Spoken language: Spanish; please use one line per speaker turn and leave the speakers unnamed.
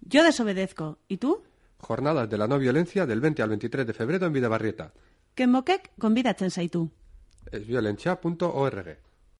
Yo desobedezco. ¿Y tú?
Jornadas de la no violencia del 20 al 23 de febrero en Vidabarrieta.
Ken Mokek konbidatzen zaitu.
Esviolentzia.org.